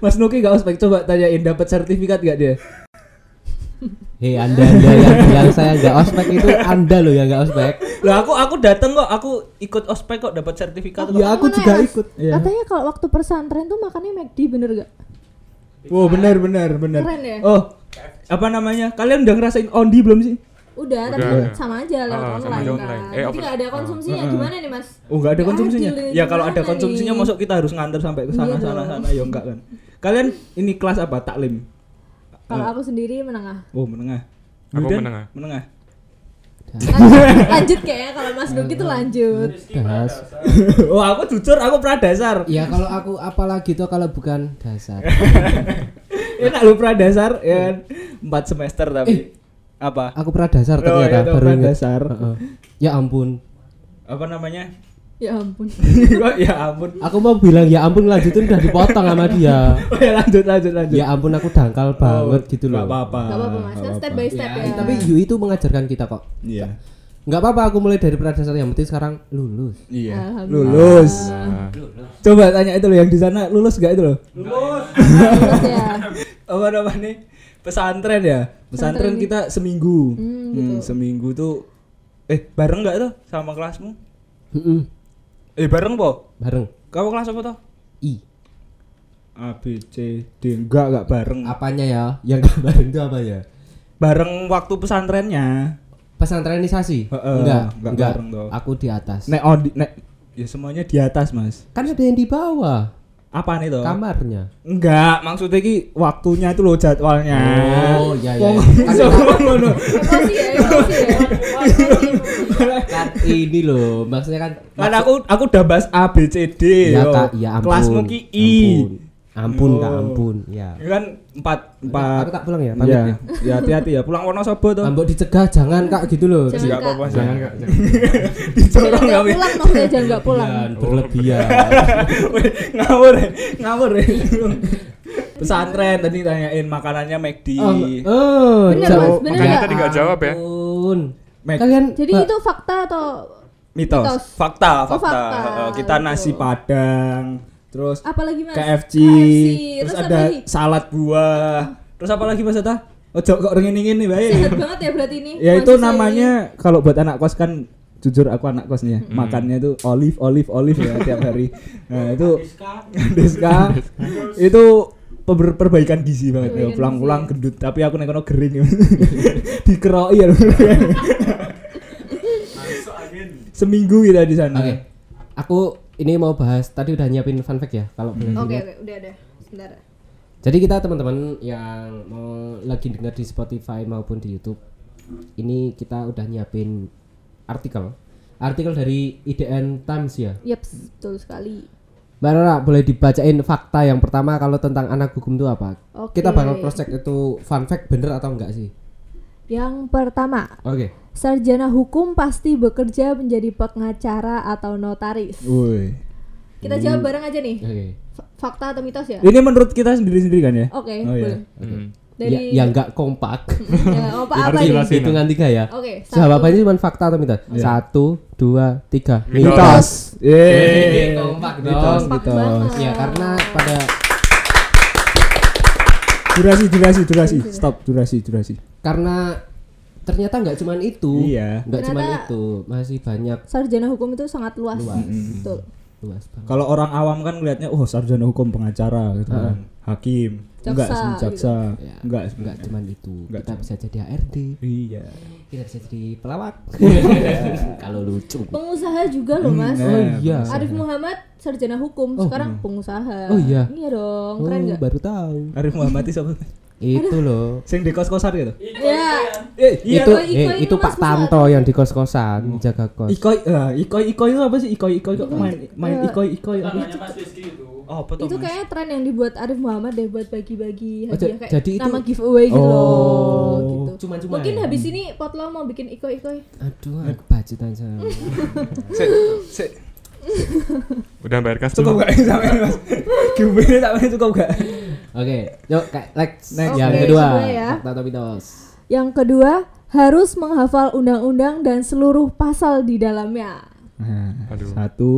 S3: Mas Nuki gak ospek coba tanyain dapat sertifikat gak dia?
S2: Hei anda anda yang bilang saya nggak ospek itu anda loh yang nggak ospek.
S5: Loh aku aku dateng kok, aku ikut ospek kok dapat sertifikat kok.
S2: Ya aku
S1: Mana
S2: juga
S1: ya, Mas?
S2: ikut.
S3: Iya.
S1: Katanya kalau waktu pesantren tuh makannya McD bener gak?
S3: Wow benar benar benar.
S1: Keren ya?
S3: Oh apa namanya? Kalian udah ngerasain ondi belum sih?
S1: Udah, tapi
S4: Udah, udah.
S1: sama aja lewat
S4: Ah, sama
S1: online,
S4: aja
S1: kan.
S4: online. Eh, ah.
S1: Jadi
S4: apa-
S1: nggak ada konsumsinya gimana nih mas?
S3: Oh nggak ada konsumsinya?
S1: Adil,
S3: Ya kalau ada
S1: gimana
S3: konsumsinya
S1: nih?
S3: masuk kita harus nganter sampai ke sana
S1: Iya
S3: sana
S1: dong.
S3: sana ya enggak kan? Kalian ini kelas apa? Taklim.
S1: Kalau aku sendiri
S3: *laughs*
S1: menengah.
S3: Oh menengah.
S4: Aku
S3: Yudan,
S4: menengah.
S3: Menengah. *laughs*
S1: Lanjut, lanjut kayaknya kalau mas Nuki tuh lanjut.
S2: Das.
S3: oh aku jujur aku pradasar.
S2: Ya kalau aku apalagi tuh kalau bukan dasar.
S3: Enak lu pradasar ya kan? Empat semester tapi
S2: Eh.
S3: apa?
S2: Aku pradasar
S3: Oh, iya,
S2: ternyata
S3: tuh,
S2: baru ingat.
S3: pradasar.
S2: Heeh. Ya ampun.
S3: Apa namanya? *laughs*
S1: Ya ampun.
S3: Kok ya ampun.
S2: Aku mau bilang ya ampun lanjutin udah dipotong sama dia.
S3: Oh, ya lanjut lanjut lanjut.
S2: Ya ampun aku dangkal banget gitu
S3: Gak
S2: loh.
S3: apa-apa.
S1: Gak apa-apa mas, kan step by step ya.
S2: Ya, tapi Yu itu mengajarkan kita kok.
S3: Iya.
S2: Nggak apa-apa aku mulai dari pradasar yang penting sekarang lulus.
S3: Iya.
S1: Alhamdulillah.
S3: Lulus.
S4: Nah,
S3: Coba tanya itu loh yang di sana lulus gak itu loh?
S1: Lulus ya.
S3: Apa namanya? Pesantren ya. Pesantren kita seminggu. Hmm,
S1: gitu.
S3: seminggu tuh eh bareng gak tuh sama kelasmu?
S2: Mm-mm.
S3: Eh bareng po?
S2: Bareng.
S3: Kamu kelas apa tuh?
S2: I.
S3: A B C D enggak enggak bareng.
S2: Apanya ya? Yang nggak bareng itu apa ya?
S3: Bareng waktu pesantrennya.
S2: Pesantrenisasi?
S3: Heeh,
S2: enggak,
S3: enggak
S2: enggak.
S3: bareng toh.
S2: Aku di atas.
S3: Nek on di- nek ya semuanya di atas, Mas.
S2: Kan ada yang di bawah
S3: Apaan itu?
S2: kamarnya.
S3: Enggak, maksudnya ki waktunya itu loh jadwalnya. *laughs* Eh.
S2: Oh, iya iya. Kan,
S3: Bisa *laughs* ngono.
S1: Emosi ya, emosi ya.
S2: kan ini loh, maksudnya kan
S3: Kan aku aku udah bahas A B C D.
S2: ya
S3: Iya, yo.
S2: Kak, ya ampun.
S3: Kelasmu ki I.
S2: Ampun, ampun Kak,
S3: Yo.
S2: ampun. Ya.
S3: Ini kan empat empat.
S2: Aku tak pulang ya, pamit
S3: ya,
S2: ya.
S3: ya hati-hati ya. Pulang Wonosobo tuh.
S2: Ambok dicegah jangan Kak gitu loh.
S1: Jangan,
S3: Enggak
S1: Kak.
S3: apa-apa,
S4: jangan
S3: jangan.
S4: kak jangan.
S1: Jangan
S3: *laughs* Dicorong
S1: nggak
S3: kami.
S1: pulang maksudnya jangan
S3: Iya.
S1: nggak pulang.
S2: Jangan Oh, berlebihan.
S3: *laughs* Weh, ngawur ya, ngawur ya. *laughs* Pesantren tadi tanyain makanannya McD.
S2: Oh, oh,
S1: Bener,
S2: jauh.
S1: Mas, bener
S3: Iya.
S4: makanya
S1: nggak?
S4: tadi nggak jawab ya
S2: Ampun.
S3: Mac-
S2: Kalian
S1: Jadi itu fakta atau
S3: Mitos.
S1: Mitos.
S3: Fakta,
S1: Oh,
S3: fakta.
S1: fakta.
S3: Heeh, kita nasi padang, terus
S1: apalagi mas?
S3: KFC, terus, ada
S1: apa lagi?
S3: salad buah. Terus apa lagi Mas Eta? Ojo kok rengin-rengin nih, bae.
S1: Sehat banget ya berarti ini.
S3: Ya itu
S1: mahasiswa ini.
S3: namanya kalau buat anak kos kan jujur aku anak kosnya makannya itu olive olive olive ya tiap hari nah itu *laughs* deska itu per- perbaikan gizi banget ya
S1: Perbaikan
S3: pulang-pulang gendut tapi aku naik kono gering *laughs* dikeroi ya seminggu kita di sana
S2: Oke. Aku ini mau bahas tadi udah nyiapin fun fact ya kalau boleh
S1: Oke,
S2: dilihat.
S1: oke, udah ada. Sebentar.
S2: Jadi kita teman-teman yang mau lagi dengar di Spotify maupun di YouTube, ini kita udah nyiapin artikel. Artikel dari IDN Times ya.
S1: Yep, betul sekali.
S2: Mbak Rara, boleh dibacain fakta yang pertama kalau tentang anak hukum itu apa?
S1: Oke.
S2: Kita bakal cross check itu fun fact bener atau enggak sih?
S1: Yang pertama,
S2: Oke.
S1: sarjana hukum pasti bekerja menjadi pengacara atau notaris.
S3: Woi.
S1: Kita
S3: Hmm.
S1: jawab bareng aja nih.
S2: Oke.
S1: F- Fakta atau mitos ya? Oke,
S3: ini menurut kita sendiri-sendiri kan ya Iya. Oh, iya.
S1: boleh.
S4: Hmm.
S2: Ya,
S1: Dari
S2: yang enggak kompak.
S1: *laughs* ya, apa apa
S4: Jelasin,
S1: ini?
S4: jelasin.
S2: Hitungan tiga ya.
S1: Oke, satu.
S2: Jawabannya cuma fakta atau mitos? Satu, dua, tiga.
S4: Mitos.
S3: Yeay.
S2: kompak
S3: mitos
S2: dong.
S1: Kompak
S3: mitos
S1: banget.
S2: Ya karena pada
S3: durasi durasi durasi stop durasi durasi
S2: karena ternyata nggak cuman itu.
S3: Iya.
S2: Nggak cuman
S1: Ternyata-
S2: itu, masih banyak
S1: Sarjana hukum itu sangat luas. Betul.
S2: luas banget.
S3: Kalau orang awam kan ngelihatnya oh sarjana hukum pengacara gitu kan. Hakim. Enggak
S1: Jaksa,
S3: sih,
S1: gitu.
S3: jaksa.
S2: Ya,
S3: Enggak,
S2: nggak
S3: enggak.
S2: cuman itu.
S3: Nggak
S2: kita bisa jadi ARD,
S3: Iya.
S2: kita bisa jadi pelawak. *laughs* Oh, Kalau lucu.
S1: Pengusaha juga loh, Mas.
S2: Oh iya.
S1: Arif Muhammad sarjana hukum, sekarang pengusaha.
S2: Oh, iya.
S1: Iya dong,
S2: Oh,
S1: keren nggak?
S2: baru tahu.
S3: Arif Muhammad itu siapa?
S2: Itu loh.
S3: Sing di kos-kosan gitu.
S1: Iya.
S3: Eh, iya.
S2: itu
S1: loh, Iko
S2: eh,
S1: ini
S2: itu
S1: Mas
S2: Pak
S1: Musad.
S2: Tanto yang di kos-kosan jaga kos.
S3: Ikoi, eh, ikoi, ikoi itu apa sih? Ikoi, ikoi kok main main ikoi, ikoi apa? Oh, apa tuh?
S1: Iya. Itu
S3: *laughs*
S1: kayaknya tren yang dibuat Arif Muhammad deh buat bagi-bagi
S2: Oh,
S1: hadiah
S2: ja-
S1: kayak
S2: jadi itu- Oh,
S1: nama giveaway gitu loh, gitu.
S2: Cuman-cuman.
S1: Mungkin habis ini Potlo mau bikin iko-ikoi.
S2: Aduh, aku bajutan saya.
S3: Sik, sik.
S4: Udah bayar kas
S3: Cukup
S4: belum?
S3: gak sampean Mas? Gimana sampean cukup gak?
S2: *laughs* Oke, yuk Kak Lex.
S3: Next.
S2: Yang
S1: Oke,
S2: kedua,
S1: kedua ya.
S2: Fakta atau mitos.
S1: Yang kedua, harus menghafal undang-undang dan seluruh pasal di dalamnya.
S4: Aduh.
S3: Nah, Satu,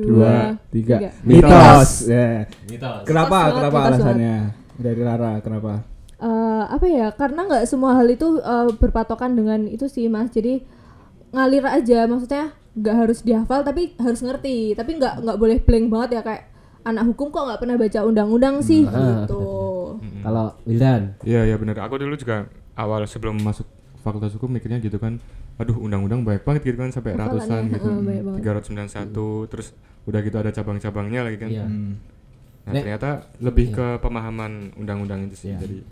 S1: Dua,
S3: dua,
S1: tiga.
S3: tiga.
S2: Mitos.
S3: Ya.
S2: Mitos.
S1: Mitos
S3: Kenapa?
S1: banget,
S3: Kenapa
S1: mitos
S3: alasannya? Dari Rara kenapa?
S1: Eh, apa ya? Karena nggak semua hal itu eh, berpatokan dengan itu sih, Mas. Jadi ngalir aja, maksudnya nggak harus dihafal tapi harus ngerti. Tapi nggak nggak boleh blank banget ya kayak anak hukum kok nggak pernah baca undang-undang sih gitu.
S2: Kalau Wildan,
S4: Iya iya benar. Aku dulu juga awal sebelum masuk fakultas hukum mikirnya gitu kan. Aduh undang-undang banyak banget gitu kan sampai
S1: Hafalannya,
S4: ratusan gitu.
S1: heeh, eh, banyak banget.
S4: 391 terus udah gitu ada cabang-cabangnya lagi kan.
S2: Iya.
S3: Hmm.
S4: Nah,
S2: Nek-
S4: ternyata lebih ke pemahaman undang-undang itu sih. Jadi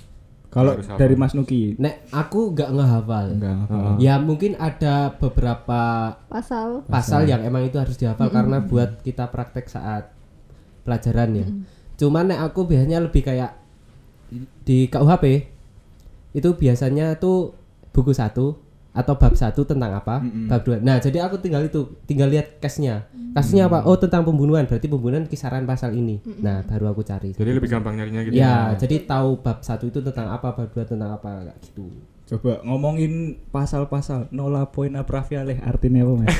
S3: Kalau
S4: Harus hafal.
S3: dari Mas Nuki
S2: nek aku nggak ngehafal.
S3: Nggak hafal.
S2: Heeh. Ya mungkin ada beberapa
S1: Pasal
S2: pasal yang emang itu harus dihafal karena buat kita praktek saat pelajaran ya. Cuman nek aku biasanya lebih kayak di KUHP itu biasanya tuh buku satu atau bab satu tentang apa, bab dua. Nah, jadi aku tinggal itu, tinggal lihat case-nya. Case-nya apa? Oh, tentang pembunuhan. Berarti pembunuhan kisaran pasal ini. Nah, baru aku cari.
S4: jadi lebih gampang nyarinya gitu.
S2: ya, jadi tahu bab satu itu tentang apa, bab dua tentang apa, kayak gitu.
S3: Coba ngomongin pasal-pasal Nola poin apravialeh artinya apa
S4: *laughs*
S3: mas?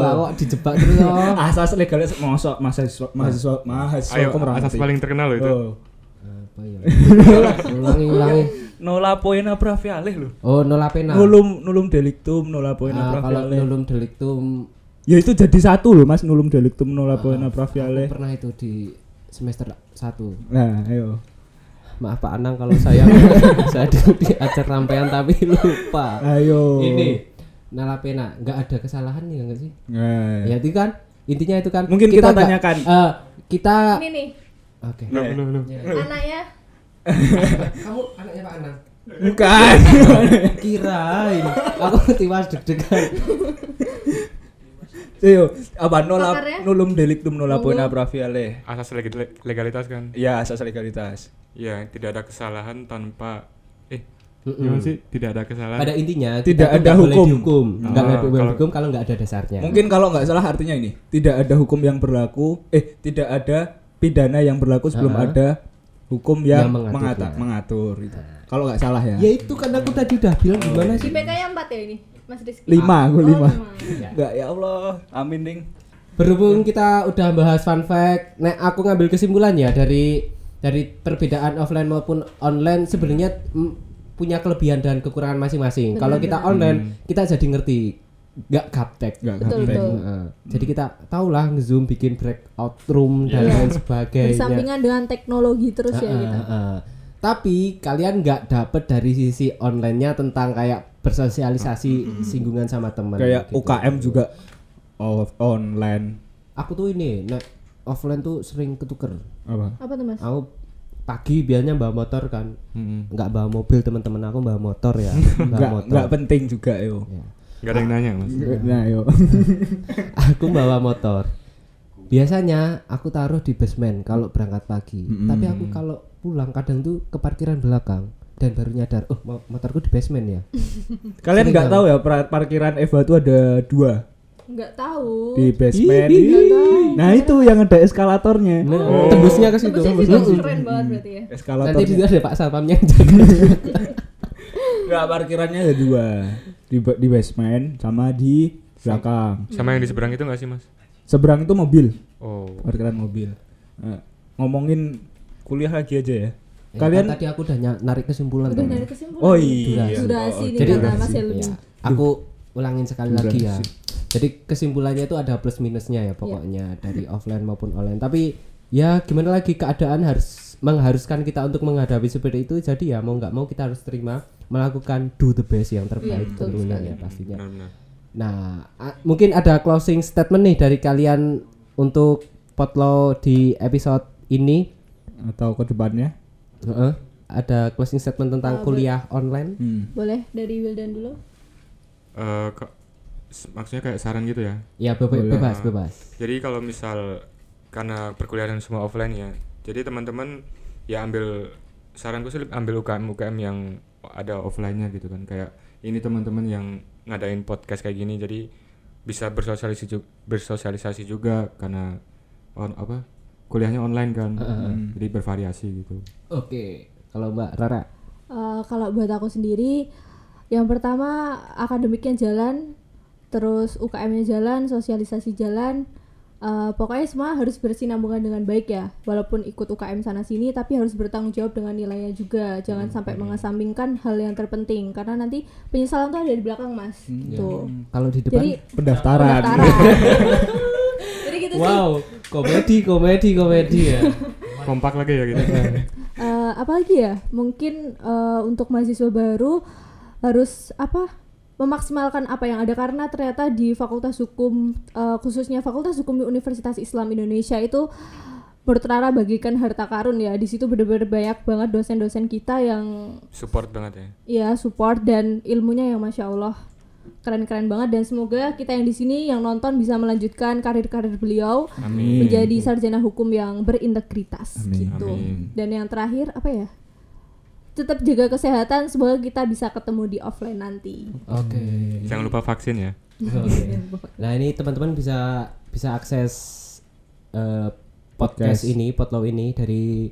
S2: Oh, awak dijebak terus. oh.
S3: asas legalnya mosok mahasiswa mahasiswa mahasiswa
S4: Ayo
S3: kok merangkati?
S4: asas paling terkenal loh itu.
S3: Oh.
S2: Apa ya? *laughs* ulangi, ulangi.
S5: Nola poena pravialeh lho.
S2: Oh, nola pena.
S4: Nah.
S3: Nulum nulum delictum nola poin
S2: Ah, kalau
S3: apravialeh.
S2: nulum delictum
S3: Ya itu jadi satu loh mas nulum delictum nola poin
S4: Ah.
S3: apravialeh.
S2: pernah itu di semester 1
S3: Nah, ayo.
S2: Maaf Pak Anang kalau saya *laughs* saya dulu diajar rampean tapi lupa.
S3: Ayo.
S2: Ini nola pena, nggak ada kesalahan ya nggak sih?
S3: Nah.
S2: Ya
S4: Iya.
S2: itu kan intinya itu kan.
S3: Mungkin
S2: nggak-
S3: kita tanyakan.
S2: eh, kita
S1: ini nih
S2: oke.
S4: Loh, loh, loh.
S1: anaknya
S2: Kamu anaknya Pak Anang.
S4: *laughs*
S3: Bukan.
S2: Kirain aku *laughs* tiwas deg-degan.
S3: Ayo, apa nola
S1: Pakarnya?
S3: nulum delictum nola poin
S1: Nulum.
S3: apravialeh?
S4: Asas leg- legalitas kan.
S3: Ya asas legalitas.
S4: Ya, tidak ada kesalahan tanpa eh gimana sih? Tidak ada kesalahan.
S2: Pada intinya kita
S3: Tidak
S2: tuh
S3: ada
S2: nggak boleh
S3: hukum.
S2: dihukum. Nggak
S4: Ah,
S2: boleh
S4: kalau-
S2: dihukum kalau nggak ada dasarnya.
S3: Mungkin kalau nggak salah artinya ini tidak ada hukum yang berlaku, eh tidak ada pidana yang berlaku sebelum ada hukum yang,
S2: Yang mengaturnya.
S3: mengata- mengatur. gitu. Kalau nggak salah ya.
S2: Ya itu kan aku tadi udah bilang gimana sih?
S1: IPK-nya 4 ya ini Mas Rizky
S3: Lima,
S2: ya.
S3: aku lima.
S2: lima.
S3: Nggak ya Allah, amin ding.
S2: Berhubung kita udah bahas fun fact, nek aku ngambil kesimpulan ya dari dari perbedaan offline maupun online sebenarnya mm, punya kelebihan dan kekurangan masing-masing. Kalau kita online, kita jadi ngerti nggak gaptek.
S3: Hmm. Nggak
S1: Betul,
S3: gaptek. Hmm.
S1: betul.
S2: Heeh. Jadi kita tahulah nge-zoom bikin breakout room dan
S1: Iya.
S2: lain sebagainya.
S1: bersampingan dengan teknologi terus ya
S2: Heeh,
S1: kita
S2: heeh. Tapi kalian nggak dapet dari sisi onlinenya tentang kayak bersosialisasi singgungan sama teman.
S3: Hmm. Kayak
S2: gitu.
S3: UKM juga off online
S2: Aku tuh ini, nek offline tuh sering ketuker.
S3: apa?
S1: apa tuh Mas
S2: aku pagi biasanya bawa motor kan
S4: Mm-mm.
S2: nggak bawa mobil teman-teman aku bawa motor ya
S3: Nggak
S2: bawa motor Ya.
S3: nggak penting juga yo.
S4: Nggak ada yang nanya, Mas.
S3: Nah
S2: *laughs*
S3: yo.
S2: aku bawa motor biasanya aku taruh di basement kalau berangkat pagi tapi aku kalau pulang kadang tuh ke parkiran belakang dan baru nyadar oh mo- motorku di basement ya
S3: Kalian nggak tahu ya pra- parkiran Eva itu ada dua
S1: nggak
S2: Oh,
S1: tahu
S2: iya.
S3: di basement. Nah itu yang ada eskalatornya. Oh.
S2: tembusnya ke situ
S1: Tembusnya sih
S2: Mm-mm.
S1: keren banget berarti ya
S2: nanti di
S3: Eskalatornya.
S2: situ ada pak satpamnya yang jaga.
S3: Enggak parkirannya ada dua di ba- di basement sama di belakang.
S4: Sama yang di seberang itu nggak sih, Mas?
S3: Seberang itu mobil,
S4: Oh.
S3: parkiran mobil. Eh, ngomongin kuliah lagi aja ya.
S2: Ya,
S3: Kalian
S2: kan tadi aku udah ny- narik kesimpulan
S1: udah
S2: kan. Tom.
S1: dari kesimpulan
S3: Oh iya.
S1: durasi nih
S2: Jadi-
S1: kata Mas Helmi
S2: Ya, aku ulangin sekali lagi ya. Jadi kesimpulannya itu ada plus minusnya ya
S3: Iya.
S2: pokoknya dari offline maupun online. Tapi ya gimana lagi keadaan harus mengharuskan kita untuk menghadapi seperti itu. Jadi ya mau nggak mau kita harus terima melakukan do the best yang
S3: Iya,
S2: terbaik tentunya ya pastinya.
S4: Benar-benar.
S2: Nah, a- mungkin ada closing statement nih dari kalian untuk potlow di episode ini.
S3: atau ke depannya?
S2: Heeh. Ada closing statement tentang kuliah online?
S3: Hmm.
S1: boleh dari Wildan dulu
S4: Eh, ke- s- maksudnya kayak saran gitu ya.
S2: Ya be- be- bebas, bebas.
S4: Jadi kalau misal karena perkuliahan semua offline ya, jadi teman-teman ya ambil saranku sih ambil UKM UKM yang ada offline-nya gitu kan. Kayak ini teman-teman yang ngadain podcast kayak gini, jadi bisa bersosialisasi juga, bersosialisasi juga karena on, apa kuliahnya online kan jadi bervariasi gitu
S2: Oke, kalau Mbak Rara.
S1: Eh, kalau buat aku sendiri, yang pertama akademiknya jalan, terus UKM-nya jalan, sosialisasi jalan. Eh, pokoknya semua harus bersinambungan dengan baik ya, walaupun ikut UKM sana sini, tapi harus bertanggung jawab dengan nilainya juga. Jangan sampai
S2: Hmm, iya.
S1: mengesampingkan hal yang terpenting, karena nanti penyesalan tuh ada di belakang mas. gitu.
S2: Kalau Hmm, iya. di depan
S1: Jadi
S3: pendaftaran.
S2: *laughs*
S1: pendaftaran. Jadi gitu sih.
S2: Wow, komedi, komedi, komedi ya.
S4: kompak lagi ya gitu
S1: Eh, apa lagi ya mungkin eh, untuk mahasiswa baru harus apa memaksimalkan apa yang ada karena ternyata di Fakultas Hukum eh, khususnya Fakultas Hukum di Universitas Islam Indonesia itu menurut Rara bagikan harta karun ya di situ benar-benar banyak banget dosen-dosen kita yang
S4: support banget ya
S1: ya support dan ilmunya yang masya Allah keren-keren banget dan semoga kita yang di sini yang nonton bisa melanjutkan karir-karir beliau menjadi sarjana hukum yang berintegritas gitu
S4: Amin.
S1: dan yang terakhir apa ya tetap jaga kesehatan semoga kita bisa ketemu di offline nanti
S2: *laughs* Oke.
S4: jangan lupa vaksin ya
S2: Oke. Nah, ini teman-teman bisa bisa akses eh, podcast,
S3: Podcast.
S2: ini, Potlow ini dari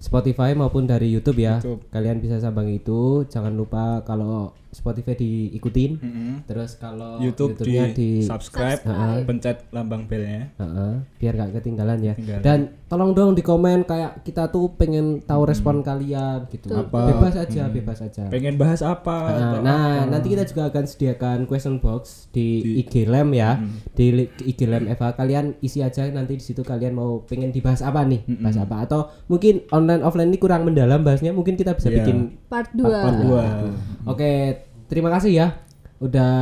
S2: Spotify maupun dari YouTube ya.
S3: YouTube.
S2: Kalian bisa sambang itu. Jangan lupa kalau Spotify diikutin. Terus kalau
S3: YouTube di
S2: YouTube-nya
S3: subscribe,
S1: Subscribe.
S3: pencet lambang belnya.
S2: Heeh, biar gak ketinggalan ya.
S3: Ketinggalan.
S2: Dan tolong dong di komen kayak kita tuh pengen tahu
S3: Hmm.
S2: respon kalian gitu.
S3: Apa?
S2: Bebas aja, bebas aja.
S3: Pengen bahas apa?
S2: Nah,
S3: Hmm. atau-
S2: nah, nanti kita juga akan sediakan question box di, IG Lem ya.
S3: Hmm.
S2: Di li- IG Lem Eva kalian isi aja nanti di situ kalian mau pengen dibahas apa nih?
S3: Hmm.
S2: Bahas apa atau mungkin online offline ini kurang mendalam bahasnya mungkin kita bisa
S3: Iya.
S2: bikin Nah, gitu.
S1: part
S3: Part
S1: 2
S3: dua.
S2: Oke, terima kasih ya udah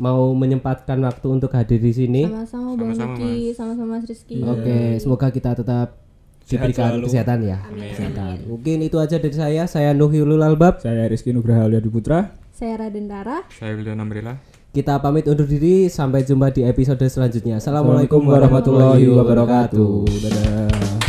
S2: mau menyempatkan waktu untuk hadir di sini.
S1: sama-sama Bang
S4: Sama-sama,
S1: Niki sama-sama Mas Rizky
S2: Oke, semoga kita tetap
S3: Iya. Sehat
S2: diberikan
S3: selalu.
S2: kesehatan ya. Kesehatan. Mungkin itu aja dari saya. Saya Nuhiulul Albab.
S3: Saya Rizky Nugraha Uliadi Putra.
S1: saya Raden Rara
S4: saya Wildan Amrila
S2: Kita pamit undur diri. Sampai jumpa di episode selanjutnya. Assalamualaikum
S3: Assalamualaikum
S2: warahmatullahi wabarakatuh.
S3: Dadah.